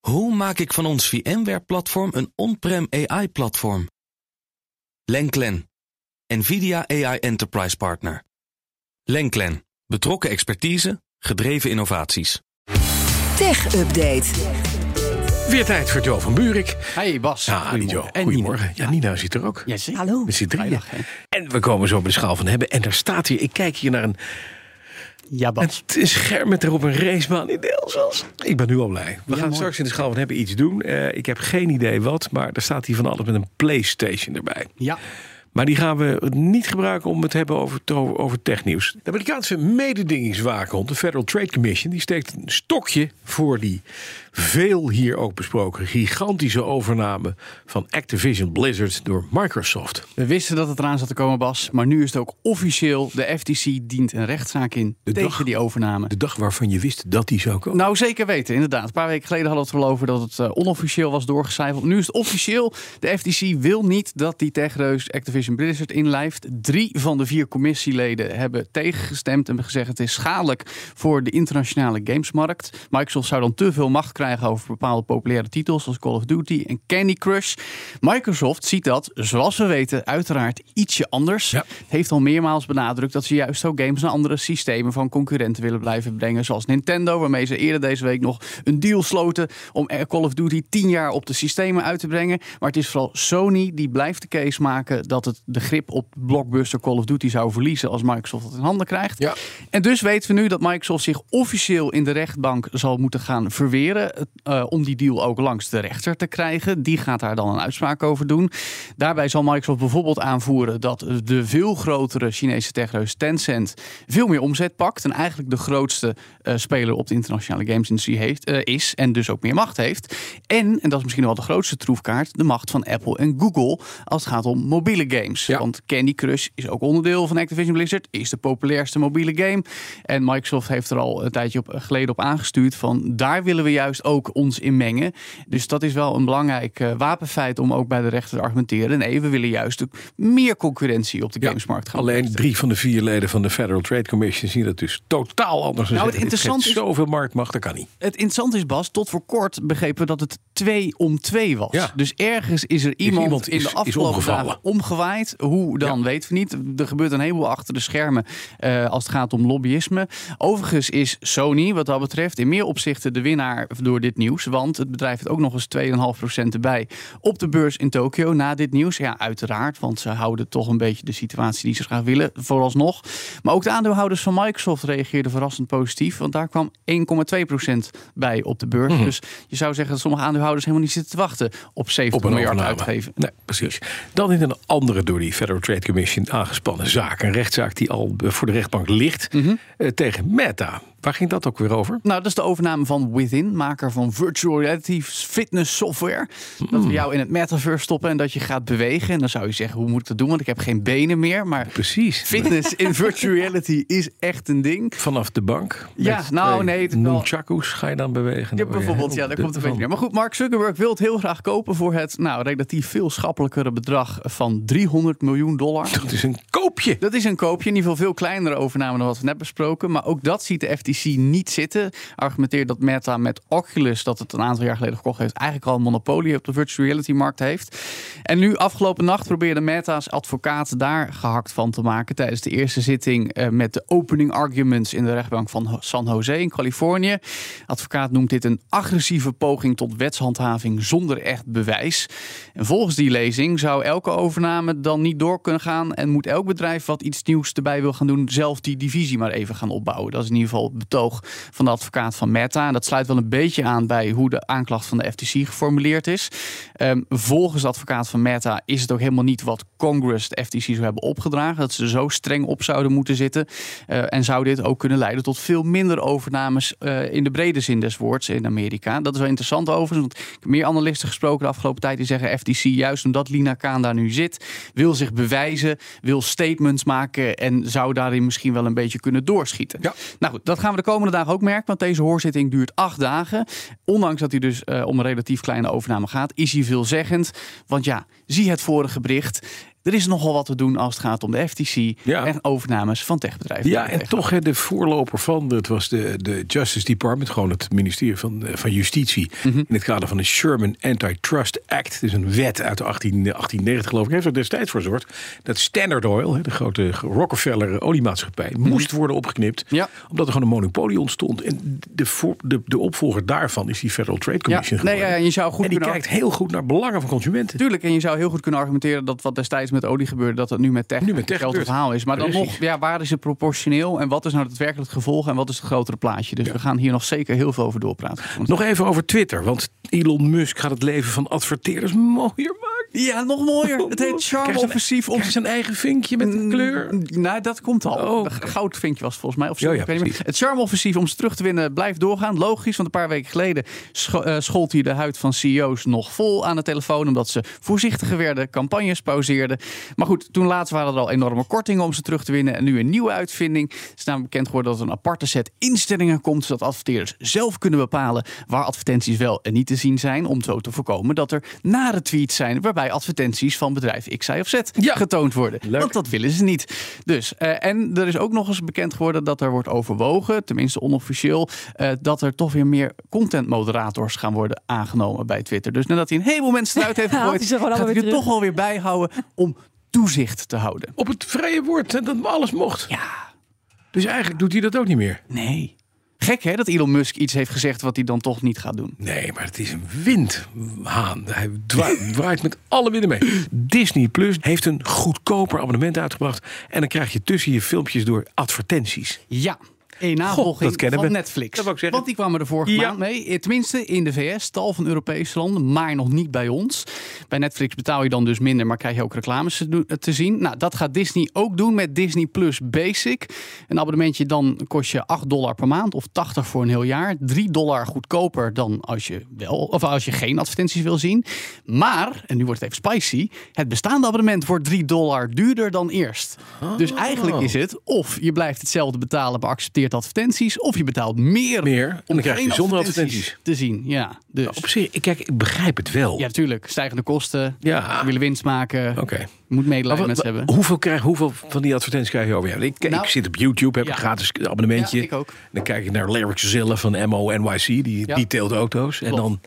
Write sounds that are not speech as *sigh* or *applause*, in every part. Hoe maak ik van ons VMware-platform een on-prem AI-platform? Lenklen, NVIDIA AI Enterprise Partner. Lenklen, betrokken expertise, gedreven innovaties. Tech Update. Weer tijd voor Joe van Buurik. Hey Bas. Ja, die Joe. En Goedemorgen. Ja, Nina zit er ook. Jazeker. Hallo. Met z'n drieën. Vrijdag, hè? En we komen zo bij de schaal van hebben. En daar staat hier, ik kijk hier naar een, Ja, Bas. het is scherm met erop een racebaan in Delsels. Ik ben nu al blij. We gaan mooi. straks in de schaal van hebben iets doen. Eh, ik heb geen idee wat, maar er staat hier van alles met een Playstation erbij. Ja. Maar die gaan we niet gebruiken om het te hebben over, to- over technieuws. De Amerikaanse mededingingswaakhond, de Federal Trade Commission, die steekt een stokje voor die veel hier ook besproken gigantische overname van Activision Blizzard door Microsoft. We wisten dat het eraan zat te komen, Bas. Maar nu is het ook officieel. De FTC dient een rechtszaak in tegen dag- die overname. De dag waarvan je wist dat die zou komen. Nou, zeker weten, inderdaad. Een paar weken geleden hadden we het wel over dat het eh, onofficieel was doorgecijfeld. Nu is het officieel. De FTC wil niet dat die techreus Activision Blizzard inlijft. Drie van de vier commissieleden hebben tegengestemd en hebben gezegd het is schadelijk voor de internationale gamesmarkt. Microsoft zou dan te veel macht krijgen over bepaalde populaire titels zoals Call of Duty en Candy Crush. Microsoft ziet dat, zoals we weten, uiteraard ietsje anders. Ja. Het heeft al meermaals benadrukt dat ze juist ook games naar andere systemen van concurrenten willen blijven brengen. Zoals Nintendo, waarmee ze eerder deze week nog een deal sloten om eh, Call of Duty 10 jaar op de systemen uit te brengen. Maar het is vooral Sony die blijft de case maken dat het de grip op blockbuster Call of Duty zou verliezen als Microsoft het in handen krijgt. Ja. En dus weten we nu dat Microsoft zich officieel in de rechtbank zal moeten gaan verweren. eh, om die deal ook langs de rechter te krijgen. Die gaat daar dan een uitspraak over doen. Daarbij zal Microsoft bijvoorbeeld aanvoeren dat de veel grotere Chinese techreus Tencent veel meer omzet pakt. En eigenlijk de grootste eh, speler op de internationale gamesindustrie heeft, eh, is. En dus ook meer macht heeft. En, en dat is misschien wel de grootste troefkaart, de macht van Apple en Google als het gaat om mobiele games. Ja. Want want Candy Crush is ook onderdeel van Activision Blizzard. Is de populairste mobiele game. En Microsoft heeft er al een tijdje op, geleden op aangestuurd. Van daar willen we juist ook ons in mengen. Dus dat is wel een belangrijk eh, wapenfeit om ook bij de rechter te argumenteren. Nee, we willen juist ook meer concurrentie op de Ja, gamesmarkt gaan. Alleen drie van de vier leden van de Federal Trade Commission zien dat dus totaal anders. Nou, het Dit geeft interessante is- Zoveel marktmacht, dat kan niet. Het interessante is, Bas, tot voor kort begrepen we dat het 2 om 2 was. Ja. Dus ergens is er iemand, iemand in is- de is afgelopen omgevallen. dagen omgewaaid. Hoe dan, weten we niet. Er gebeurt een heleboel achter de schermen eh, als het gaat om lobbyisme. Overigens is Sony, wat dat betreft, in meer opzichten de winnaar door dit nieuws. Want het bedrijf heeft ook nog eens 2,5% erbij op de beurs in Tokio na dit nieuws. Ja, uiteraard, want ze houden toch een beetje de situatie die ze graag willen, vooralsnog. Maar ook de aandeelhouders van Microsoft reageerden verrassend positief, want daar kwam 1,2% bij op de beurs. Mhm. Dus je zou zeggen dat sommige aandeelhouders helemaal niet zitten te wachten op 70 op een miljard overname. uitgeven. Nee, precies. Dan in een andere door die Federal Trade Commission aangespannen zaak. Een rechtszaak die al eh, voor de rechtbank ligt Mhm. eh, tegen Meta. Waar ging dat ook weer over? Nou, dat is de overname van Within, maker van virtual reality fitness software. Dat we jou in het metaverse stoppen en dat je gaat bewegen. En dan zou je zeggen, hoe moet ik dat doen? Want ik heb geen benen meer. Maar Precies. fitness in virtual reality is echt een ding. Vanaf de bank. Ja, met nou, twee nee, het is wel- Nunchakus ga je dan bewegen. Ja, Dan word je bijvoorbeeld, ja, helemaal daar de- komt een van- beetje neer. Maar goed, Mark Zuckerberg wil het heel graag kopen voor het nou, relatief veel schappelijkere bedrag van 300 miljoen dollar. Dat is een koopje. *laughs* Dat is een koopje, in ieder geval veel kleinere overname dan wat we net besproken. Maar ook dat ziet de FTC niet zitten. Argumenteert dat Meta met Oculus, dat het een aantal jaar geleden gekocht heeft, eigenlijk al een monopolie op de virtual reality markt heeft. En nu, afgelopen nacht, probeerde Meta's advocaat daar gehakt van te maken tijdens de eerste zitting eh, met de opening arguments in de rechtbank van Ho- San Jose in Californië. Advocaat noemt dit een agressieve poging tot wetshandhaving zonder echt bewijs. En volgens die lezing zou elke overname dan niet door kunnen gaan en moet elk bedrijf wat iets nieuws erbij wil gaan doen zelf die divisie maar even gaan opbouwen. Dat is in ieder geval het betoog van de advocaat van Meta. En dat sluit wel een beetje aan bij hoe de aanklacht van de FTC geformuleerd is. Ehm, volgens de advocaat van Meta is het ook helemaal niet wat Congress de FTC zou hebben opgedragen. Dat ze zo streng op zouden moeten zitten. Eh, en zou dit ook kunnen leiden tot veel minder overnames eh, in de brede zin des woords in Amerika. Dat is wel interessant overigens. Want ik heb meer analisten gesproken de afgelopen tijd die zeggen FTC, juist omdat Lina Kaan daar nu zit, wil zich bewijzen, wil statements maken en zou daarin misschien wel een beetje kunnen doorschieten. Ja. Nou goed, dat gaan we de komende dagen ook merken, want deze hoorzitting duurt acht dagen. Ondanks dat hij dus eh, om een relatief kleine overname gaat, is hij veelzeggend. Want ja, zie het vorige bericht. er is nogal wat te doen als het gaat om de FTC Ja. en overnames van techbedrijven. Ja, en toch hè, de voorloper van, dat was de, de Justice Department, gewoon het ministerie van, eh, van Justitie. Mhm. In het kader van de Sherman Antitrust Act. Dat is een wet uit 18, 1890 geloof ik. Heeft er destijds voor gezorgd dat Standard Oil, hè, de grote Rockefeller oliemaatschappij, moest worden opgeknipt. Mhm. Ja. Omdat er gewoon een monopolie ontstond. En de, voor, de, de opvolger daarvan is die Federal Trade Ja, Commission nee, ja, geworden. en je zou goed en die kunnen kijkt heel goed naar belangen van consumenten. Tuurlijk, en je zou heel goed kunnen argumenteren dat wat destijds met olie gebeurde, dat dat nu met tech, Nu met tech hetzelfde gebeurt. verhaal is. Maar dan Precies. nog, ja, waar is het proportioneel en wat is nou daadwerkelijk het gevolg en wat is het grotere plaatje? Dus we gaan hier nog zeker heel veel over doorpraten. Nog even over Twitter, want Elon Musk gaat het leven van adverteerders mooier maken. Ja, nog Oh mooier. *laughs* Het heet Krijgt Charm zijn- Offensief Op zijn eigen vinkje met een kleur. Mm, Nou, dat komt al. Oh, Een oké. Goud vind je was het volgens mij. Of zo, Ja, ja, ik weet niet meer. precies. Het charme-offensief om ze terug te winnen blijft doorgaan. Logisch, want een paar weken geleden scho- eh, schold hij de huid van CEO's nog vol aan de telefoon. Omdat ze voorzichtiger werden, campagnes pauzeerden. Maar goed, toen laatst waren er al enorme kortingen om ze terug te winnen. En nu een nieuwe uitvinding. Het is namelijk bekend geworden dat er een aparte set instellingen komt. Zodat adverteerders zelf kunnen bepalen waar advertenties wel en niet te zien zijn. Om zo te voorkomen dat er nare tweets zijn waarbij advertenties van bedrijf X, Y of Z Ja. getoond worden. Leuk. Want dat willen ze niet. Dus, eh, en er is ook nog eens bekend geworden dat er wordt overwogen, tenminste onofficieel, eh, dat er toch weer meer contentmoderators gaan worden aangenomen bij Twitter. Dus nadat hij een heleboel mensen eruit heeft *laughs* Haalt hij gegooid, ze gewoon gaat hij allemaal er weer terug. toch wel weer bij houden om toezicht te houden. Op het vrije woord en dat alles mocht. Ja, Dus eigenlijk doet hij dat ook niet meer. nee. Gek hè, dat Elon Musk iets heeft gezegd wat hij dan toch niet gaat doen. Nee, maar het is een windhaan. Hij dwa- waait met alle winden mee. Disney Plus heeft een goedkoper abonnement uitgebracht. En dan krijg je tussen je filmpjes door advertenties. Ja. Een navolging dat kennen van we. Netflix. Dat wou ik zeggen. Want die kwamen er vorige Ja. maand mee. Eh, Tenminste, in de VS, tal van Europese landen, maar nog niet bij ons. Bij Netflix betaal je dan dus minder, maar krijg je ook reclames te, doen- te zien. Nou, dat gaat Disney ook doen met Disney Plus Basic. Een abonnementje dan kost je 8 dollar per maand of 80 voor een heel jaar. 3 dollar goedkoper dan als je, wel, of als je geen advertenties wil zien. Maar, en nu wordt het even spicy, het bestaande abonnement wordt 3 dollar duurder dan eerst. Dus Ah. eigenlijk is het of je blijft hetzelfde betalen, maar accepteert advertenties, of je betaalt meer Meer. En dan krijg je geen zonder te zien. Ja, dus. Op zich, ik- kijk, ik begrijp het wel. ja, natuurlijk. Stijgende kosten. Ja. We willen winst maken. Oké. Moet Maar medelijden wat- met ze wat- hebben. hoeveel, krijg, hoeveel van die advertenties krijg je over? Ja, ik, Nou, ik zit op YouTube, heb ja. een gratis abonnementje. Ja, ik ook. Dan kijk ik naar Lyrics Zilla van MO-NYC, die Ja. detailed auto's. En Klopt. dan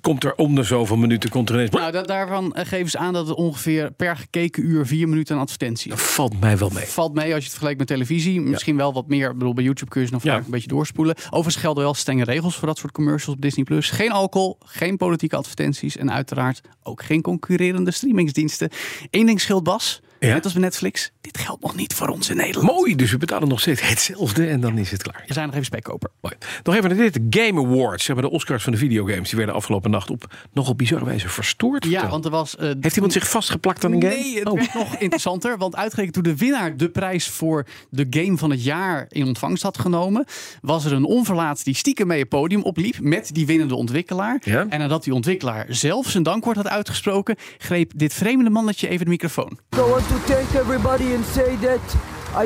komt er om de zoveel minuten komt er ineens... Nou, da- daarvan eh, geven ze aan dat het ongeveer per gekeken uur vier minuten aan advertentie. Dat valt mij wel mee. Valt mee als je het vergelijkt met televisie. Misschien wel wat meer. Ik bedoel, bij YouTube kun je ze nog Ja. vaak een beetje doorspoelen. Overigens gelden wel strenge regels voor dat soort commercials op Disney+. Plus. Geen alcohol, geen politieke advertenties en uiteraard ook geen concurrerende streamingsdiensten. Eén ding scheelt Bas, Ja? net als bij Netflix, dit geldt nog niet voor ons in Nederland. Mooi, dus we betalen nog steeds hetzelfde en dan is het klaar. We zijn nog even spekkoper. Mooi. Nog even naar dit. de Game Awards, zeg maar de Oscars van de videogames. Die werden afgelopen nacht op nogal bizarre wijze verstoord. Ja, verteld. want er was... eh, Heeft iemand zich vastgeplakt aan een game? Nee, het Oh. werd nog interessanter. Want uitgerekend toen de winnaar de prijs voor de game van het jaar in ontvangst had genomen, was er een onverlaat die stiekem mee het podium opliep met die winnende ontwikkelaar. Ja. En nadat die ontwikkelaar zelf zijn dankwoord had uitgesproken, greep dit vreemde mannetje even de microfoon. I want to thank everybody and say that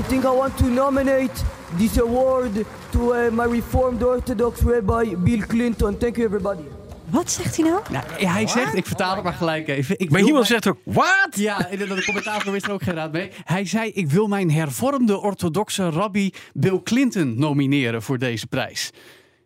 I think I want to nominate this award to uh, my Reformed Orthodox Rabbi Bill Clinton. Thank you, everybody. Wat zegt hij nou? Nou, hij zegt, ik vertaal het maar gelijk even. Ik Maar wil iemand mijn- zegt ook, wat? Ja, en de commentator wist er ook geen raad mee. Hij zei: Ik wil mijn hervormde orthodoxe rabbi Bill Clinton nomineren voor deze prijs.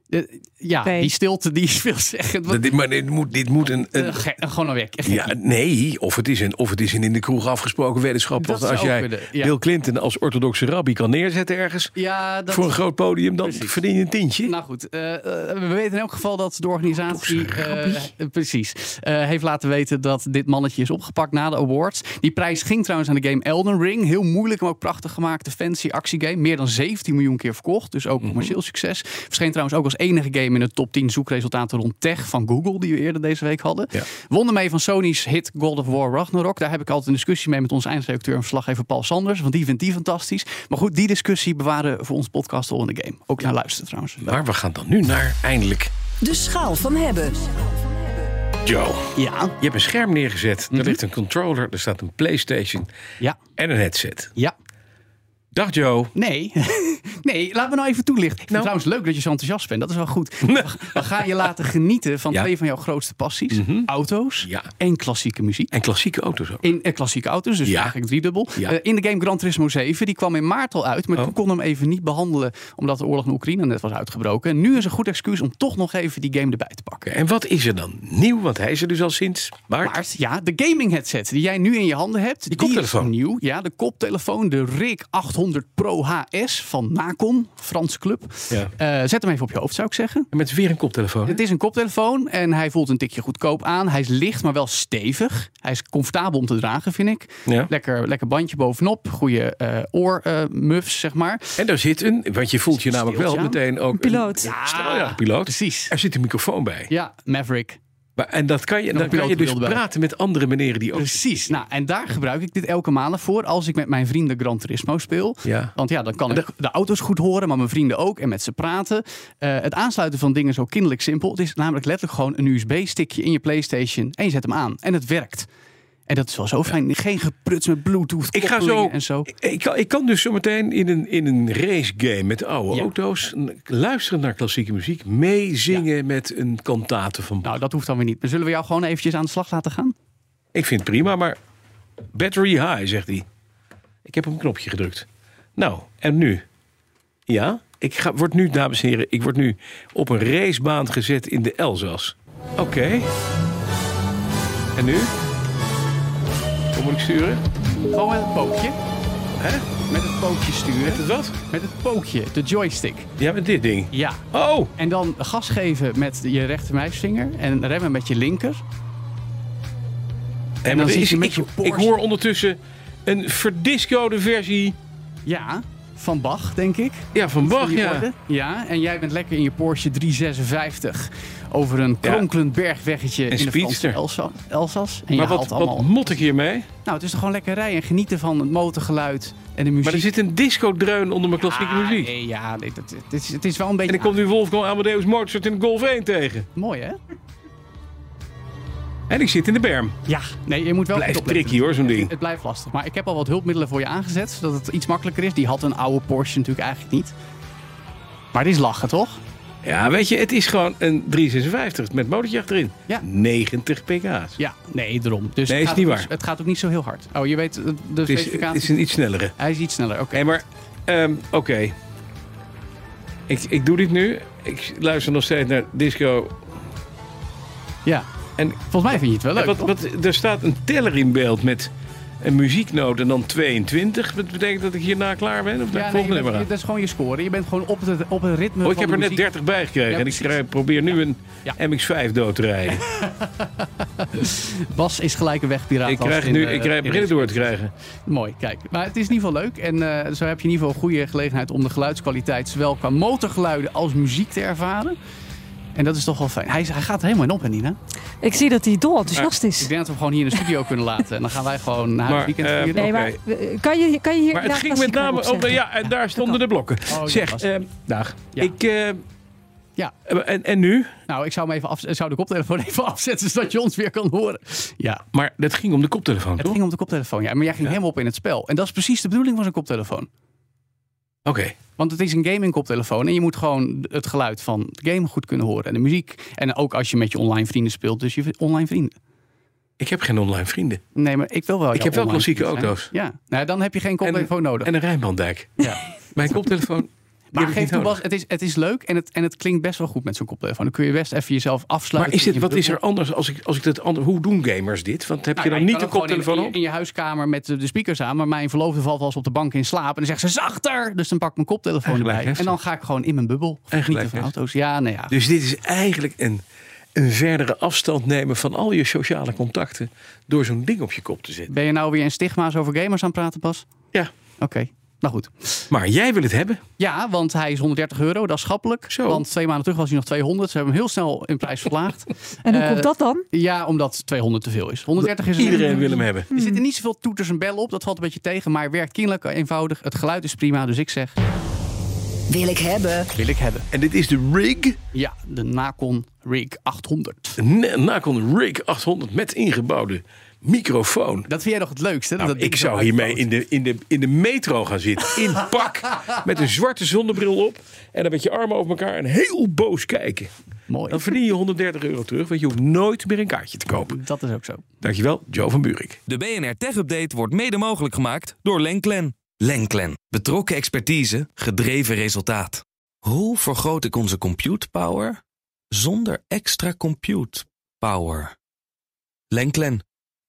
Eh, ja, Oké. die stilte die is *laughs* veelzeggend. Want, Dit, maar dit moet, dit moet een... eh, een ge- gewoon een weg. ja, nee, of het, is een, of het is een in de kroeg afgesproken wetenschap. Dat Want als zou jij kunnen, ja. Bill Clinton als orthodoxe rabbi kan neerzetten ergens... Ja, dat voor een groot podium, dan Precies. verdien je een tientje. Nou goed, eh, eh, we weten in elk geval dat de organisatie. eh, eh, precies. eh, heeft laten weten dat dit mannetje is opgepakt na de awards. Die prijs ging trouwens aan de game Elden Ring. Heel moeilijk, maar ook prachtig gemaakt. De fancy actiegame. Meer dan 17 miljoen keer verkocht. Dus ook commercieel succes. Verscheen trouwens ook als enige game in de top 10 zoekresultaten rond tech van Google. Die we eerder deze week hadden. Ja. Wonnen mee van Sony's hit God of War Ragnarok. Daar heb ik altijd een discussie mee met onze eindredacteur en verslaggever Paul Sanders. Want die vindt die fantastisch. Maar goed, die discussie bewaren we voor ons podcast al in de game. Ook naar luisteren trouwens. Maar we gaan dan nu naar, eindelijk, De schaal van hebben. Joe. Ja. Je hebt een scherm neergezet, Mhm. er ligt een controller, er staat een Playstation Ja. en een headset. Ja. Dag Joe. Nee. *laughs* Nee, laat me nou even toelichten. Ik vind Nou. het trouwens leuk dat je zo enthousiast bent. Dat is wel goed. *laughs* We we gaan je laten genieten van Ja. Mhm. twee van jouw grootste passies. Auto's Ja. en klassieke muziek. En klassieke auto's ook. In eh, klassieke auto's, dus Ja. eigenlijk driedubbel. Ja. Eh, in de game Gran Turismo 7, die kwam in maart al uit. Maar Oh. toen kon hem even niet behandelen, omdat de oorlog in Oekraïne net was uitgebroken. En nu is een goed excuus om toch nog even die game erbij te pakken. Oké, En wat is er dan nieuw? Want hij is er dus al sinds maart. Maar ja, de gaming headset die jij nu in je handen hebt. Die, koptelefoon. Is nieuw. Ja, de koptelefoon. De RIG 800 Pro HS van Nacon, Frans club. Ja. Eh, zet hem even op je hoofd, zou ik zeggen. En met weer een koptelefoon. hè? Het is een koptelefoon en hij voelt een tikje goedkoop aan. Hij is licht, maar wel stevig. Hij is comfortabel om te dragen, vind ik. Ja. Lekker, lekker bandje bovenop. Goede eh oormuffs, zeg maar. En daar zit een, want je voelt je namelijk wel Steeltje aan. meteen ook... Een piloot. Ja, stel- Ah. ja, Oh, piloot. Ah, Precies. Er zit een microfoon bij. Ja, Maverick. Maar, en dat kan je, Nog dan een kan je dus pilotenbeeld bij. praten met andere meneren die ook... Precies. Nou, en daar gebruik ik dit elke maand voor als ik met mijn vrienden Gran Turismo speel. *laughs* Ja. Want ja, dan kan En ik de auto's goed horen, maar mijn vrienden ook en met ze praten. Eh, het aansluiten van dingen is ook kinderlijk simpel. Het is namelijk letterlijk gewoon een USB-stickje in je PlayStation en je zet hem aan. En het werkt. En dat is wel zo fijn. Geen gepruts met Bluetooth. Ik ga zo. koppelingen En zo. Ik, ik kan, ik kan dus zometeen in een, in een race game met oude Ja. auto's n- luisteren naar klassieke muziek, meezingen met een kantate van. Nou, dat hoeft dan weer niet. Maar zullen we jou gewoon eventjes aan de slag laten gaan? Ik vind het prima, maar battery high, zegt hij. Ik heb op een knopje gedrukt. Nou, en nu? Ja, ik ga, word nu, dames en heren, ik word nu op een racebaan gezet in de Elzas. Oké. En nu? Hoe moet ik sturen? Gewoon met het pookje. Hè? Met het pookje sturen. Wat? Met het pookje. De joystick. Ja, met dit ding. Ja. Oh! En dan gas geven met je rechtermuisvinger en remmen met je linker. En dan wat zit is- je met ik, je ik Porsche. hoor ondertussen een verdiscode versie Ja, van Bach, denk ik. ja, van Bach. Die Ja. orde. ja, en jij bent lekker in je Porsche 356 over een Ja. kronkelend bergweggetje in de Franse speedster. Elsa- Elzas. En Maar je wat, haalt allemaal... wat mot ik hiermee? Nou, het is toch gewoon lekker rijden en genieten van het motorgeluid en de muziek. Maar er zit een disco-dreun onder mijn klassieke Ah, muziek. nee, ja, nee, dat, het, is, het is wel een beetje... En ik kom nu Wolfgang Amadeus Mozart in de Golf 1 tegen. Ah, mooi, hè? En ik zit in de berm. Ja. Nee, je moet wel Blijft goed opletten. tricky hoor, zo'n ding. Het blijft lastig. Maar ik heb al wat hulpmiddelen voor je aangezet, zodat het iets makkelijker is. Die had een oude Porsche natuurlijk eigenlijk niet. Maar dit is lachen, toch? Ja, weet je, het is gewoon een 356 met motortje achterin. Ja. 90 pk's. Ja, nee, daarom. Dus Nee, het is gaat niet ook- waar. Het gaat ook niet zo heel hard. Oh, je weet eh, de Het is, specificatie. het is een iets snellere. Hij is iets sneller, oké. Nee, maar ehm, oké. Ik, ik doe dit nu. Ik luister nog steeds naar disco Ja. En- En volgens mij vind je het wel leuk. wat, toch? wat, er staat een teller in beeld met een muzieknoot en dan 22. Dat betekent dat ik hierna klaar ben? Of ja, naar nee, het volgende nummer je bent- aan? dat is gewoon je score. Je bent gewoon op het, op het ritme. Oh, ik van heb de er net muziek. 30 bij gekregen Ja, en ik precies. schrijf- probeer nu een Ja. MX-5 dood te rijden. Bas is gelijk een wegpiraat. ik als krijg in, nu, eh, ik krijg, in- begin het door te krijgen. Mooi, kijk. Maar het is in ieder geval leuk. En eh, zo heb je in ieder geval goede gelegenheid om de geluidskwaliteit... zowel qua motorgeluiden als muziek te ervaren. En dat is toch wel fijn. Hij, is- hij gaat er helemaal in op, hè, Nina? Ik zie dat hij dol enthousiast Ik is. denk dat we hem gewoon hier in de studio kunnen *laughs* laten. En dan gaan wij gewoon naar Maar, het weekend eh, vieren. Nee, Oké. maar eh, kan je, kan je hier Maar het ja, ging met klassiek name opzetten? om... Ja, en daar stonden de blokken. Oh, dat zeg, was- ehm, dag. Ja. Ik, eh, Ja. en, en nu? Nou, ik zou, hem even af, zou de koptelefoon *laughs* even afzetten... zodat je ons weer kan horen. Ja, Maar dat ging om de koptelefoon, Het toch? ging om de koptelefoon, ja. Maar jij ging helemaal op in het spel. En dat is precies de bedoeling van zo'n koptelefoon. Oké. Want het is een gaming koptelefoon. En je moet gewoon het geluid van de game goed kunnen horen. En de muziek. En ook als je met je online vrienden speelt. Dus je online vrienden. Ik heb geen online vrienden. Nee, maar ik wil wel jouw heb wel online klassieke vrienden zijn. auto's. Ja, nou, dan heb je geen koptelefoon nodig. En een Rijnbandijk. ja. *laughs* Mijn koptelefoon... die Maar heb ik geef niet toe, nodig. Bas, het is, het is leuk en het, en het klinkt best wel goed met zo'n koptelefoon. Dan kun je best even jezelf Maar afsluiten. is dit, in je wat is er bubbel. anders als ik, als ik dat anders... Hoe doen gamers dit? Want heb Nou je ja, dan niet kan de ook gewoon koptelefoon in, in, op? in je huiskamer met de de speakers aan. Maar mijn verloofde valt wel eens op de bank in slaap. En dan zegt ze zachter. Dus dan pak ik mijn koptelefoon Eigenlijk erbij. En heftig. dan ga ik gewoon in mijn bubbel. Eigenlijk Genieten van heftig. auto's. Ja, nou ja. Dus dit is eigenlijk een, een verdere afstand nemen van al je sociale contacten... door zo'n ding op je kop te zetten. Ben je nou weer in stigma's over gamers aan het praten, Bas? Ja. Oké. Nou goed. Maar jij wil het hebben. Ja, want hij is 130 euro, dat is schappelijk. Zo. Want twee maanden terug was hij nog 200. Ze hebben hem heel snel in prijs *laughs* verlaagd. En hoe Eh, komt dat dan? Ja, omdat 200 te veel is. 130 is een- Iedereen wil Hmm. hem hebben. Er zitten niet zoveel toeters en bellen op. Dat valt een beetje tegen. Maar werkt kinderlijk eenvoudig. Het geluid is prima. Dus ik zeg, Wil ik hebben. wil ik hebben. En dit is de Rig. Ja, de Nacon Rig 800. N- Nacon Rig 800 met ingebouwde microfoon. Dat vind jij nog het leukste? hè? Nou, dat ik zou hiermee in de, in, de, in de metro gaan zitten. In pak. met een zwarte zonnebril op. En dan met je armen over elkaar en heel boos kijken. Mooi. Dan verdien je 130 euro terug, want je hoeft nooit meer een kaartje te kopen. Dat is ook zo. Dankjewel, Joe van Buurik. De BNR Tech Update wordt mede mogelijk gemaakt door Lenklen. Lenklen. Betrokken expertise, gedreven resultaat. Hoe vergroot ik onze compute power zonder extra compute power? Lenklen.